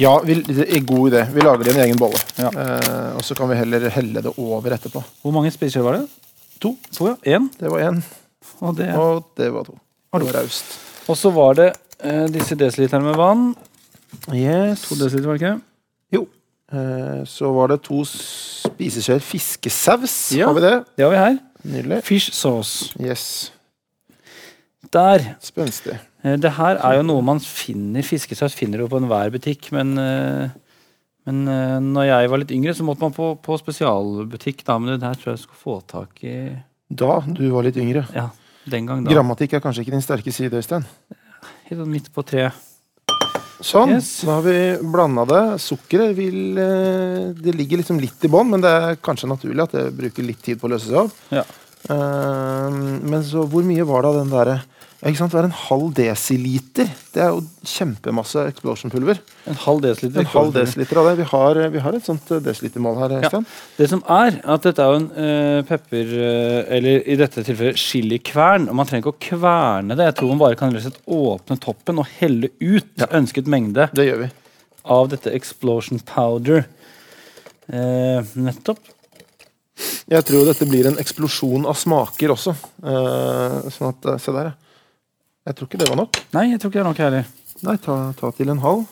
Ja, vi, det er god idé. Vi lager det i en egen bolle. Ja. Eh, og så kan vi heller helle det over etterpå. Hvor mange spiseskjeer var det? To. To, ja. Én. Det var én, Og, det. og det var to. Det var raust. og så var det eh, disse desiliterne med vann. Yes. To desiliter, var det ikke? Jo. Eh, så var det to spiseskjeer fiskesaus. Ja. Har vi det? Det har vi her. Nydelig. Fish sauce. Yes. Der. Spenstig. Eh, Det her er jo noe man finner fiskesaus finner du på enhver butikk, men, eh, men eh, når jeg var litt yngre, så måtte man på, på spesialbutikk. Da, men det der tror jeg jeg skulle få tak i Da du var litt yngre. Ja, den gang, da. Grammatikk er kanskje ikke din sterke side, Øystein. Helt sånn midt på treet. Sånn. Yes. Da har vi blanda det. Sukkeret vil eh, Det ligger liksom litt i bånn, men det er kanskje naturlig at det bruker litt tid på å løse seg opp. Ja. Eh, men så hvor mye var da den derre Ja, ikke sant? Hver en halv desiliter. Det er jo kjempemasse explosion-pulver. En halv desiliter. En halv desiliter av det. Vi har, vi har et sånt eh, desilitermål her, Øystein. Det som er, at dette er jo en eh, pepper... eh, eller i dette tilfellet chilikvern. Og man trenger ikke å kverne det. Jeg tror man bare kan rett og slett åpne toppen og helle ut ønsket mengde Det gjør vi. av dette explosion powder. Eh, nettopp. Jeg tror dette blir en eksplosjon av smaker også. Eh, sånn at, eh, se der, ja. Jeg tror ikke det var nok. Nei, jeg tror ikke det er nok heller. Nei, ta, ta til en halv.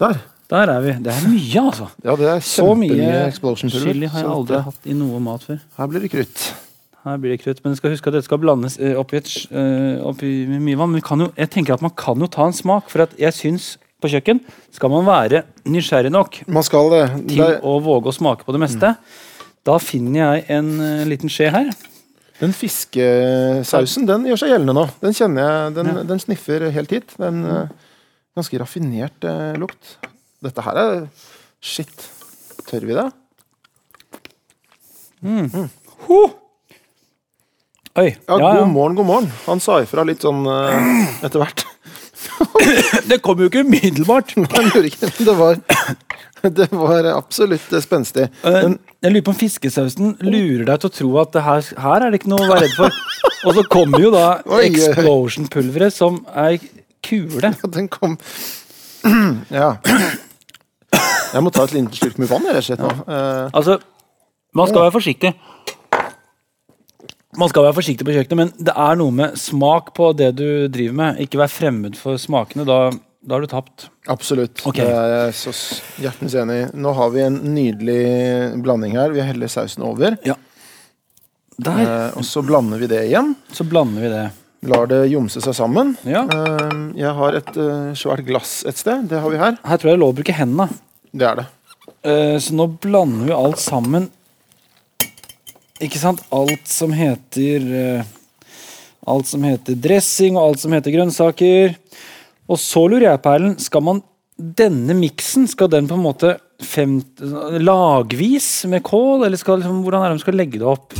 Der. Der er vi. Det er mye, altså. Ja, det er Så mye kjempemye explosion-pulver. chili har jeg så aldri det- hatt i noe mat før. Her blir det krutt. Her blir det krutt, men du skal huske at dette skal blandes eh, oppi, et, sj- eh, oppi med mye vann. Men vi kan jo, jeg tenker at man kan jo ta en smak, for at jeg syns på kjøkken skal man være nysgjerrig nok Man skal det. til det å våge å smake på det meste. Mm. Da finner jeg en eh, liten skje her. den fiskesausen den gjør seg gjeldende nå. Den kjenner jeg, den, den sniffer helt hit. Den eh, ganske raffinert eh, lukt. Dette her er Shit. Tør vi det? Oi. Ja, ja, god morgen, god morgen. Han sa ifra litt sånn eh, etter hvert. ja. Det kom jo ikke umiddelbart. Han gjorde ikke det, men det var, det var absolutt eh, spenstig. Eh, Men Jeg lurer på om fiskesausen lurer deg til å tro at det her, her er det ikke noe å være redd for. Og så kommer jo da Oi, oi, oi. explosion-pulveret som ei kule. den kom Ja. Jeg må ta et lite slurk med vann, jeg, rett og slett. nå. Eh, Altså, man skal være forsiktig. Man skal være forsiktig på kjøkkenet, men det er noe med smak på det du driver med. Ikke vær fremmed for smakene. Da, da har du tapt. Absolutt. Ok. Det er jeg så s- hjertens enig i. Nå har vi en nydelig blanding her. Vi heller sausen over, Der. eh, og så blander vi det igjen. Så blander vi det. Lar det jomse seg sammen. Ja. Eh, Jeg har et eh, svært glass et sted. Det har vi her. Her tror jeg det er lov å bruke hendene. Det er det. Eh, Så nå blander vi alt sammen. Ikke sant? Alt som heter eh, Alt som heter dressing, og alt som heter grønnsaker. Og så lurer jeg, Perlen, skal man denne miksen skal den på en måte fem, lagvis med kål, eller skal, liksom, hvordan er det man skal legge det opp?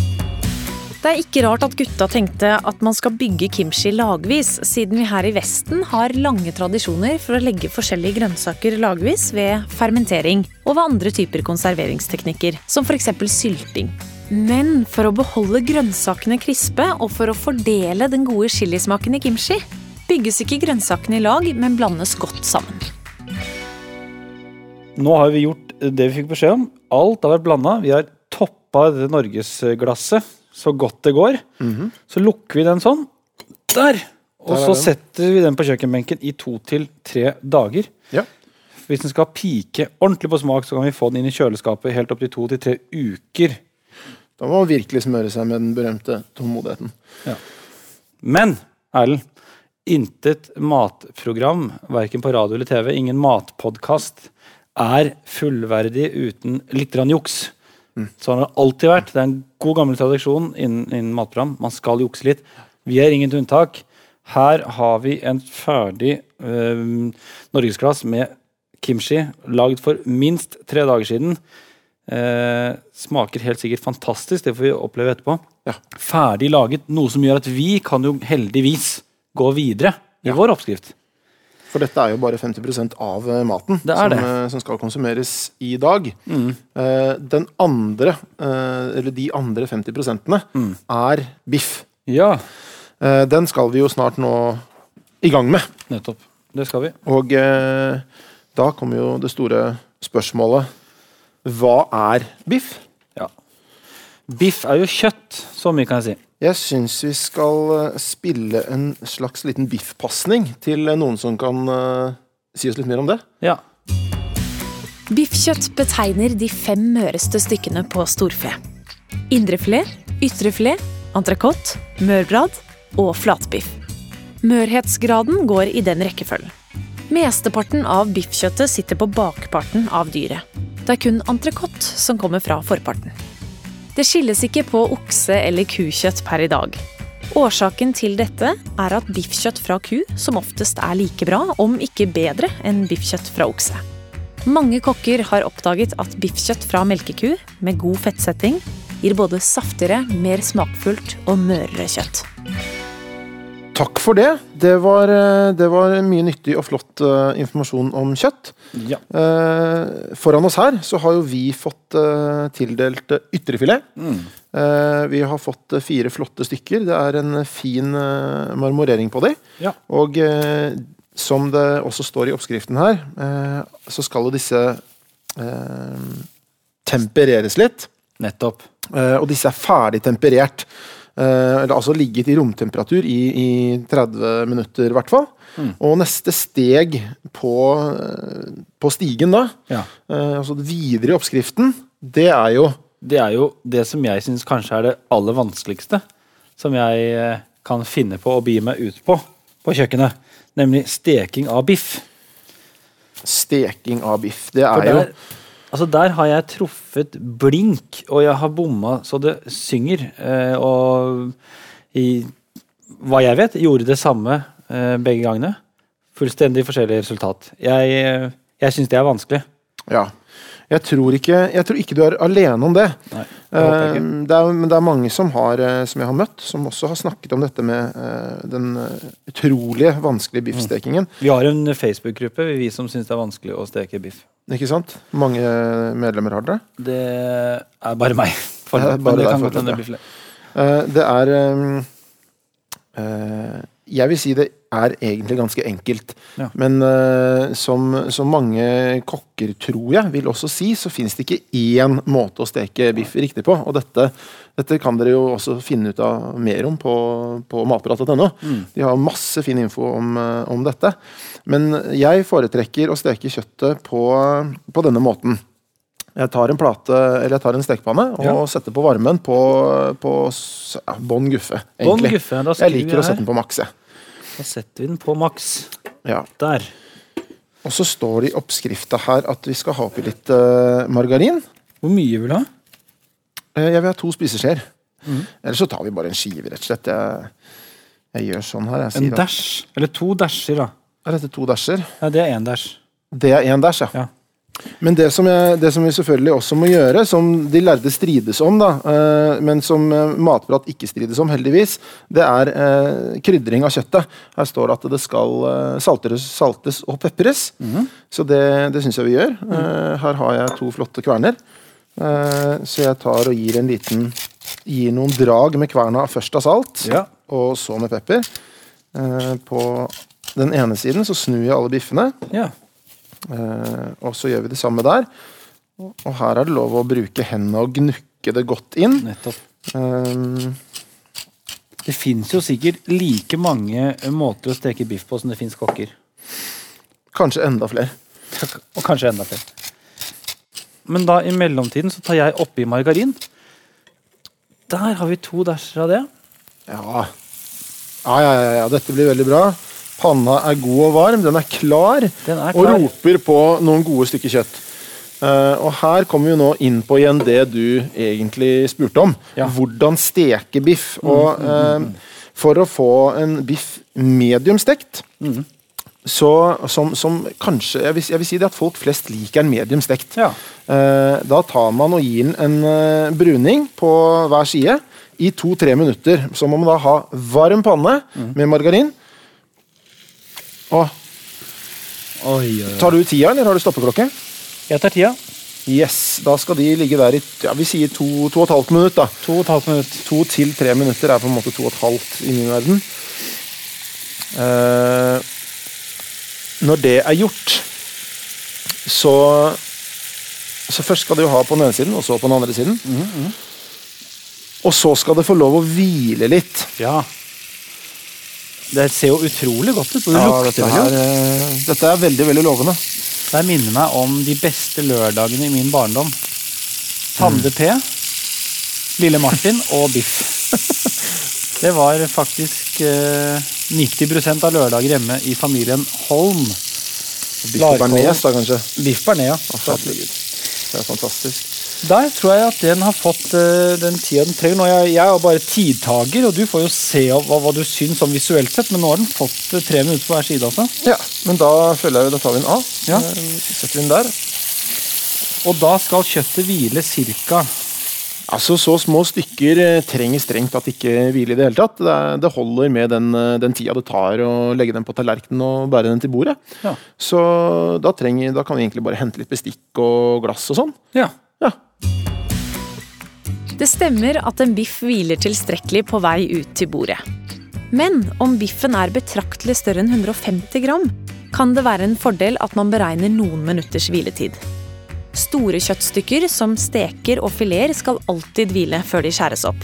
Det er ikke rart at gutta tenkte at man skal bygge kimchi lagvis, siden vi her i Vesten har lange tradisjoner for å legge forskjellige grønnsaker lagvis ved fermentering og ved andre typer konserveringsteknikker, som f.eks. sylting. Men for å beholde grønnsakene krispe og for å fordele den gode chilismaken i kimchi, bygges ikke grønnsakene i lag, men blandes godt sammen. Nå har vi gjort det vi fikk beskjed om. Alt har vært blanda. Vi har toppa dette norgesglasset så godt det går. Så lukker vi den sånn. Der! Og Mhm. Der er så den. setter vi den på kjøkkenbenken i to til tre dager. Ja. Hvis den skal pike ordentlig på smak, så kan vi få den inn i kjøleskapet helt opp til to til tre uker. Da må man virkelig smøre seg med den berømte tålmodigheten. Men Erlend, intet matprogram, verken på radio eller TV, ingen matpodkast, er fullverdig uten litt grann juks. Sånn har det alltid vært. Det er en god gammel tradisjon innen, innen matprogram. Man skal jukse litt. Vi er inget unntak. Her har vi en ferdig øhm, norgesglass med kimchi lagd for minst tre dager siden. Eh, smaker helt sikkert fantastisk, det får vi oppleve etterpå. Ferdig laget, noe som gjør at vi kan jo heldigvis gå videre i vår oppskrift. For dette er jo bare 50 av eh, maten Det er som, det. Mm. eh, som skal konsumeres i dag. Eh, Den andre, eh, eller de andre 50 Mm. er biff. Ja, Eh, Den skal vi jo snart nå i gang med. nettopp. Det skal vi. Og eh, da kommer jo det store spørsmålet Hva er biff? Ja. Biff er jo kjøtt, så mye kan jeg si. Jeg syns vi skal eh, spille en slags liten biffpasning til eh, noen som kan eh, si oss litt mer om det. Ja. Biffkjøtt betegner de fem møreste stykkene på storfe. Indrefilet, ytrefilet, entrecôte, mørbrad og flatbiff. Mørhetsgraden går i den rekkefølgen. Mesteparten av biffkjøttet sitter på bakparten av dyret. Det er kun entrecôte som kommer fra forparten. Det skilles ikke på okse- eller kukjøtt per i dag. Årsaken til dette er at biffkjøtt fra ku som oftest er like bra, om ikke bedre, enn biffkjøtt fra okse. Mange kokker har oppdaget at biffkjøtt fra melkeku med god fettsetting gir både saftigere, mer smakfullt og mørere kjøtt. Takk for det. Det var, eh, det var mye nyttig og flott eh, informasjon om kjøtt. Ja. Eh, foran oss her så har jo vi fått eh, tildelt eh, ytrefilet. Mm. Eh, vi har fått eh, fire flotte stykker. Det er en eh, fin eh, marmorering på dem. Ja. Og eh, som det også står i oppskriften her, eh, så skal jo disse eh, tempereres litt. Nettopp. Eh, og disse er ferdig temperert. Eh, eller altså ligget i romtemperatur i, i 30 minutter, i hvert fall. Mm. Og neste steg på, eh, på stigen, da, Ja. eh, altså videre i oppskriften, det er jo Det er jo det som jeg syns kanskje er det aller vanskeligste. Som jeg eh, kan finne på å bi meg ut på på kjøkkenet. Nemlig steking av biff. steking av biff. Det For er jo der, altså der har jeg truffet blink, og jeg har bomma så det synger. Eh, og i hva jeg vet, gjorde det samme eh, begge gangene. Fullstendig forskjellig resultat. Jeg, eh, jeg syns det er vanskelig. Ja. Jeg tror, ikke, jeg tror ikke du er alene om det. Nei, det håper jeg Eh, det er, men det er mange som, har, eh, som jeg har møtt, som også har snakket om dette med eh, den eh, utrolig Mm. vanskelige biffstekingen. Vi har en Facebook-gruppe, vi som syns det er vanskelig å steke biff. Ikke sant? Mange eh, medlemmer har dere. Det er bare meg. For, Det er bare men det deg kan for godt hende det, det blir flere. Eh, Det er ehm, eh, Jeg vil si det er egentlig ganske enkelt. Ja. Men eh, som, som mange kokker, tror jeg, vil også si, så fins det ikke én måte å steke biff riktig på. Og dette, dette kan dere jo også finne ut av mer om på, på matprat.no. De har masse fin info om, eh, om dette. Men jeg foretrekker å steke kjøttet på, på denne måten. Jeg tar en plate, eller jeg tar en stekepanne og Ja. setter på varmen på, på s- ja, bånn guffe. Bånn egentlig. guffe, da Jeg skriver liker å jeg sette her. den på maks. jeg. Da setter vi den på maks. Ja. Der. Og så står det i oppskrifta her at vi skal ha oppi litt eh, margarin. Hvor mye vil du ha? Eh, jeg vil ha to spiseskjeer. Mhm. Eller så tar vi bare en skive, rett og slett. Jeg, jeg gjør sånn her. Jeg En sier at, dæsj. Eller to dæsjer, da. er dette to dæsjer? Nei, det er én dæsj. Det er én dæsj, ja. Ja. Men det som, jeg, det som vi selvfølgelig også må gjøre, som de lærde strides om, da, eh, men som eh, matprat ikke strides om, heldigvis, det er eh, krydring av kjøttet. Her står det at det skal eh, salteres, saltes og pepres. Mhm. Så det, det syns jeg vi gjør. Eh, her har jeg to flotte kverner. Eh, så jeg tar og gir en liten Gir noen drag med kverna først av salt, Ja. og så med pepper. Eh, på den ene siden så snur jeg alle biffene. Ja. Eh, og så gjør vi det samme der. Og og her er det lov å bruke hendene og gnukke det godt inn. Nettopp. Eh, Det fins jo sikkert like mange måter å steke biff på som det fins kokker. kanskje enda flere. Og kanskje enda flere. Men da i mellomtiden så tar jeg oppi margarin. Der har vi to dæsjer av det. Ja. Ja, ja, ja, ja, dette blir veldig bra. Panna er god og varm, den er klar, Den er og klar. roper på noen gode stykker kjøtt. Eh, og her kommer vi nå inn på igjen det du egentlig spurte om. Ja. Mm, Hvordan steke biff. Og eh, for å få en biff medium stekt, så, som, som kanskje jeg vil, jeg vil si det at folk flest liker en medium stekt. Ja. Eh, Da tar man og gir den en eh, bruning på hver side i to-tre minutter. Så må man da ha varm panne Mhm. med margarin. Og Oi, oi, Tar du tida, eller har du stoppeklokke? Jeg tar tida. Yes, Da skal de ligge der i ja, vi sier to, to og et halvt minutt. da. To og et halvt minutt. To til tre minutter er på en måte to og et halvt i min verden. Eh, når det er gjort, så Så først skal det jo ha på den ene siden, og så på den andre siden. Og så skal det få lov å hvile litt. Ja. Det ser jo utrolig godt ut. og Det Ja, lukter dette, vel jo. her, eh, dette er veldig, veldig lovende. Det her minner meg om de beste lørdagene i min barndom. Tande P, Lille Martin og Biff. Det var faktisk eh, 90 av lørdager hjemme i familien Holm. Biff Larkål. bearnés, da, kanskje. Biff Bernea. Herregud. Det er fantastisk. Der tror jeg at den har fått eh, den tida den trenger. Nå, jeg, jeg er jo bare tidtager, og du får jo se hva, hva du syns sånn visuelt sett, men nå har den fått eh, tre minutter på hver side. altså. Ja, men da føler jeg jo, da tar vi den av. Ja. Eh, Setter vi den der. Og da skal kjøttet hvile ca. Altså, Så små stykker eh, trenger strengt tatt ikke hvile i det hele tatt. Det, er, det holder med den, eh, den tida det tar å legge den på tallerkenen og bære den til bordet. Ja. Så da, trenger, da kan vi egentlig bare hente litt bestikk og glass og sånn. Ja. Ja. Det stemmer at en biff hviler tilstrekkelig på vei ut til bordet. Men om biffen er betraktelig større enn 150 gram, kan det være en fordel at man beregner noen minutters hviletid. Store kjøttstykker som steker og fileter skal alltid hvile før de skjæres opp.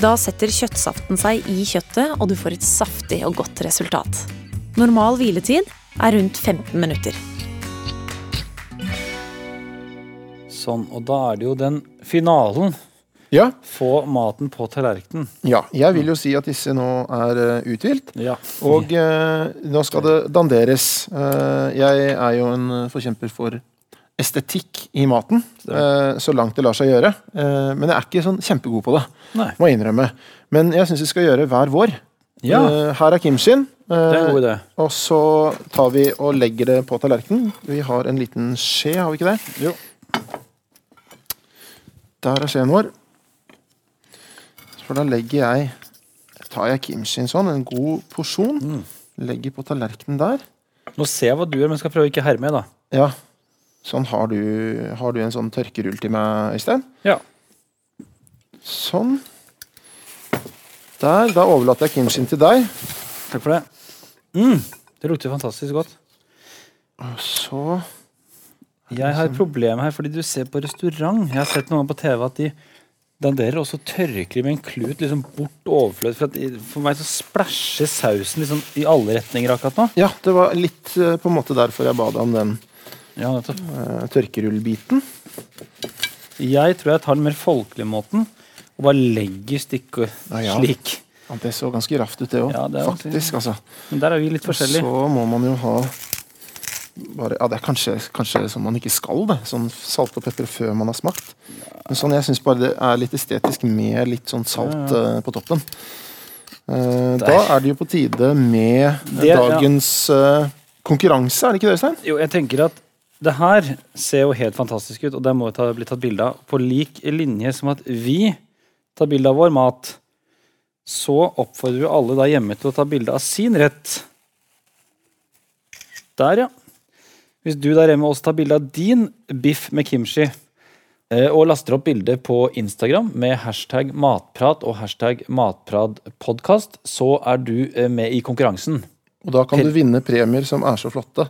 Da setter kjøttsaften seg i kjøttet, og du får et saftig og godt resultat. Normal hviletid er rundt 15 minutter. Sånn, og da er det jo den finalen. Ja. Få maten på tallerkenen. ja. Jeg vil jo si at disse nå er eh, uthvilt. Ja. Og eh, nå skal det danderes. Eh, jeg er jo en eh, forkjemper for estetikk i maten, eh, så langt det lar seg gjøre. Eh, men jeg er ikke sånn kjempegod på det, Nei. må jeg innrømme. Men jeg syns vi skal gjøre hver vår. Ja. Eh, her er Kim sin. eh, Det er en god idé. og så tar vi og legger det på tallerkenen. Vi har en liten skje, har vi ikke det? Jo. Der er skjeen vår. For da legger jeg Tar jeg kimchi sånn, en god porsjon. Mm. Legger på tallerkenen der. Nå ser jeg hva du gjør, men skal prøve å ikke herme, da. Ja. Sånn har du, har du en sånn tørkerull til meg, Øystein? Ja. Sånn. Der. Da overlater jeg kimchien til deg. Takk for det. Mm. Det lukter fantastisk godt. Og så Jeg har et problem her, fordi du ser på restaurant. Jeg har sett noen ganger på TV at de danderer, og så tørker de med en klut liksom bort overfløt. For, at de, for meg så splæsjer sausen liksom i alle retninger akkurat nå. Ja, det var litt eh, på en måte derfor jeg ba deg om den Ja, nettopp. eh, tørkerullbiten. Jeg tror jeg tar den mer folkelige måten og bare legger stykket Ja, ja. slik. Ja, det så ganske raft ut, det òg. Ja, det er jo- Faktisk, altså. Men der er vi litt forskjellige. Så må man jo ha bare, ja, Det er kanskje, kanskje sånn man ikke skal, det. Sånn salt og pepper før man har smakt. Men sånn, jeg syns bare det er litt estetisk med litt sånn salt eh, på toppen. Eh, da er det jo på tide med eh, Det- ja. dagens eh, konkurranse, er det ikke det, Øystein? Jo, jeg tenker at det her ser jo helt fantastisk ut, og det må jo ta, bli tatt bilde av. På lik linje som at vi tar bilde av vår mat, så oppfordrer vi alle der hjemme til å ta bilde av sin rett. Der, ja. Hvis du der hjemme også tar bilde av din biff med kimchi, eh, og laster opp bildet på Instagram med hashtag matprat og hashtag matpratpodkast, så er du eh, med i konkurransen. Og da kan du vinne premier som er så flotte.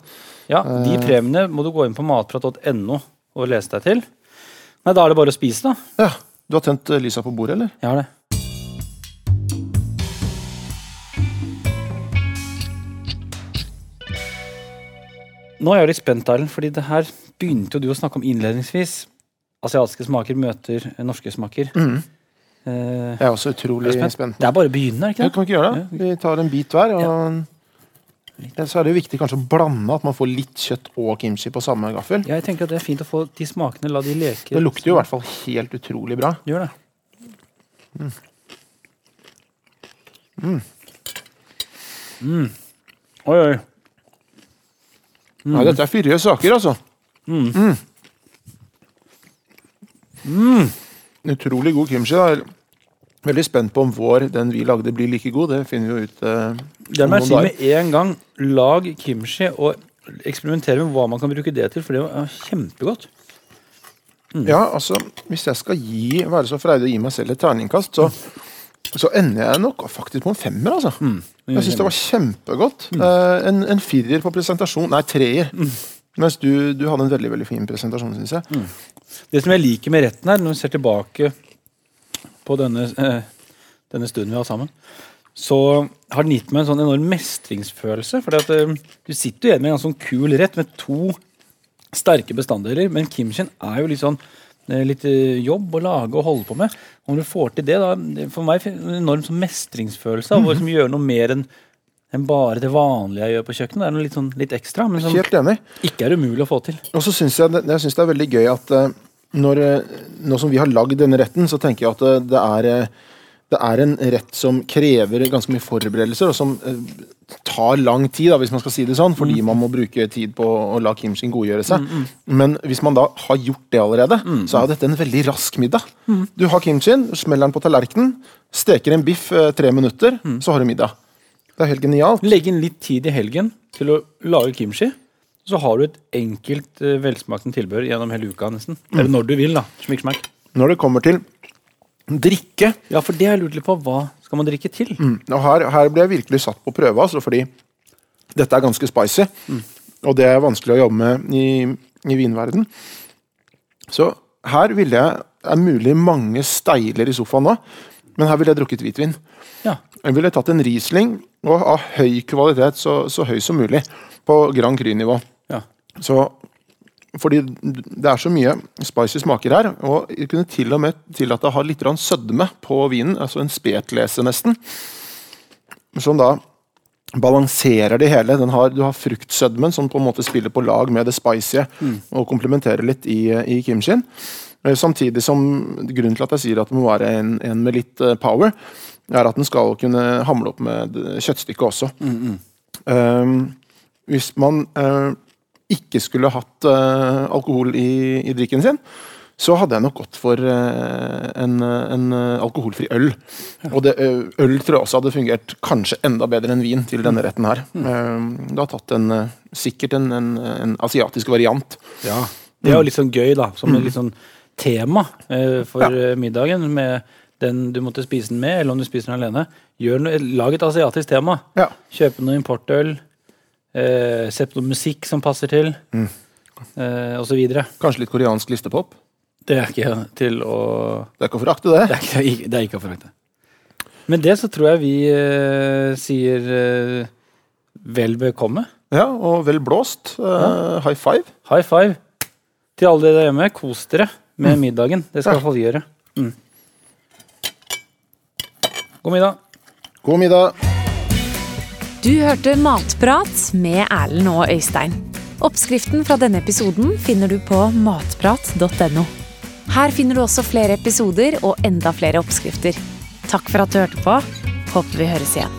Ja, de Eh. premiene må du gå inn på matprat.no og lese deg til. Nei, da er det bare å spise, da. Ja, Du har tent eh, lysa på bordet, eller? Jeg har det. Nå er jeg litt spent, Erlend, fordi det her begynte jo du å snakke om innledningsvis. Asiatiske smaker møter norske smaker. Eh, Jeg Mm, er også utrolig jeg er spent. Det er bare å begynne, er Ja, det ikke det? kan vi ikke gjøre det? Vi tar en bit hver. Og ja, så er det jo viktig kanskje å blande at man får litt kjøtt og kimchi på samme gaffel. Jeg tenker at det er fint å få de smakene, la de leke. Det lukter jo i hvert fall helt utrolig bra. Gjør det. Mm. Oi, oi. Mm. Nei, dette er fyrige saker, altså. Mm. Utrolig god kimchi. da. Jeg er Veldig spent på om vår, den vi lagde, blir like god. Det finner vi jo ut eh, Det om må noen jeg si dager. med en gang. Lag kimchi og eksperimenter med hva man kan bruke det til, for det er kjempegodt. Ja, altså, hvis jeg skal gi, være så freidig å gi meg selv et terningkast, så, så ender jeg nok faktisk på en femmer, altså. Jeg syns det var kjempegodt. Eh, en, en firer på presentasjon, nei, treer. Mens du, du hadde en veldig veldig fin presentasjon, syns jeg. Det som jeg liker med retten her, når vi ser tilbake på denne, eh, denne stunden vi har sammen, så har den gitt meg en sånn enorm mestringsfølelse. For eh, du sitter jo igjen med en ganske sånn kul rett med to sterke bestanddeler, men kimchen er jo litt sånn eh, Litt eh, jobb å lage og holde på med. Og Når du får til det, da det- For meg en enorm sånn mestringsfølelse av å liksom gjøre noe mer enn enn bare det vanlige jeg gjør på kjøkkenet. Det er noe litt, sånn, litt ekstra, men som Helt enig. ikke er umulig å få til. Og så syns jeg, det- jeg synes det er veldig gøy at eh, når, eh, nå som vi har lagd denne retten, så tenker jeg at eh, det er eh, det er en rett som krever ganske mye forberedelser, og som eh, tar lang tid, da, hvis man skal si det sånn, fordi man må bruke tid på å la Kim sin godgjøre seg. Men hvis man da har gjort det allerede, så er jo dette en veldig rask middag. Du har Kim sin, smeller den på tallerkenen, steker en biff eh, tre minutter, så har du middag. Det er helt genialt. Legge inn litt tid i helgen til å lage kimchi. Så har du et enkelt eh, velsmakende tilbehør gjennom hele uka. nesten. Mm. Eller når du vil, da. Smikk, smakk. Når det kommer til drikke Ja, for det har jeg lurt litt på. Hva skal man drikke til? Og her, her ble jeg virkelig satt på prøve, altså, fordi dette er ganske spicy. Og det er vanskelig å jobbe med i, i vinverden. Så her ville jeg Det er mulig mange steiler i sofaen nå, men her ville jeg drukket hvitvin. Ja. Jeg ville tatt en Riesling og av høy kvalitet, så, så høy som mulig, på Grand Cru-nivå. Ja. Så fordi det er så mye spicy smaker her, og jeg kunne til og med tillatt å ha litt grann sødme på vinen, altså en spetlese nesten, som da balanserer det hele. Den har, du har fruktsødmen som på en måte spiller på lag med det spicy, og komplementerer litt i, i kimchien. Eh, Samtidig som grunnen til at jeg sier at det må være en, en med litt eh, power, er at den skal kunne hamle opp med eh, kjøttstykket også. Eh, hvis man eh, ikke skulle hatt eh, alkohol i, i drikken sin, så hadde jeg nok gått for eh, en, en eh, alkoholfri øl. Og det, eh, øl tror jeg også hadde fungert kanskje enda bedre enn vin til denne retten her. Eh, det har tatt en, eh, sikkert en, en, en asiatisk variant. Ja. Det er jo litt sånn gøy, da. Som et litt sånn tema eh, for eh, middagen. Med den du måtte spise den med, eller om du spiser den alene. Gjør noe, lag et asiatisk tema. Ja. Kjøpe noe importøl. Eh, Sett noe musikk som passer til. Eh, og så videre. Kanskje litt koreansk listepop. Det er ikke til å Det er ikke å forakte, det. Det er ikke, det er ikke- det er ikke å forakte. Med det så tror jeg vi eh, sier eh, vel bekomme. Ja, Og vel blåst. Eh, High five. High five til alle dere der hjemme. Kos dere med middagen. Det skal i hvert fall vi gjøre. Mm. God middag. God middag. Du hørte Matprat med Erlend og Øystein. Oppskriften fra denne episoden finner du på matprat.no. Her finner du også flere episoder og enda flere oppskrifter. Takk for at du hørte på. Håper vi høres igjen.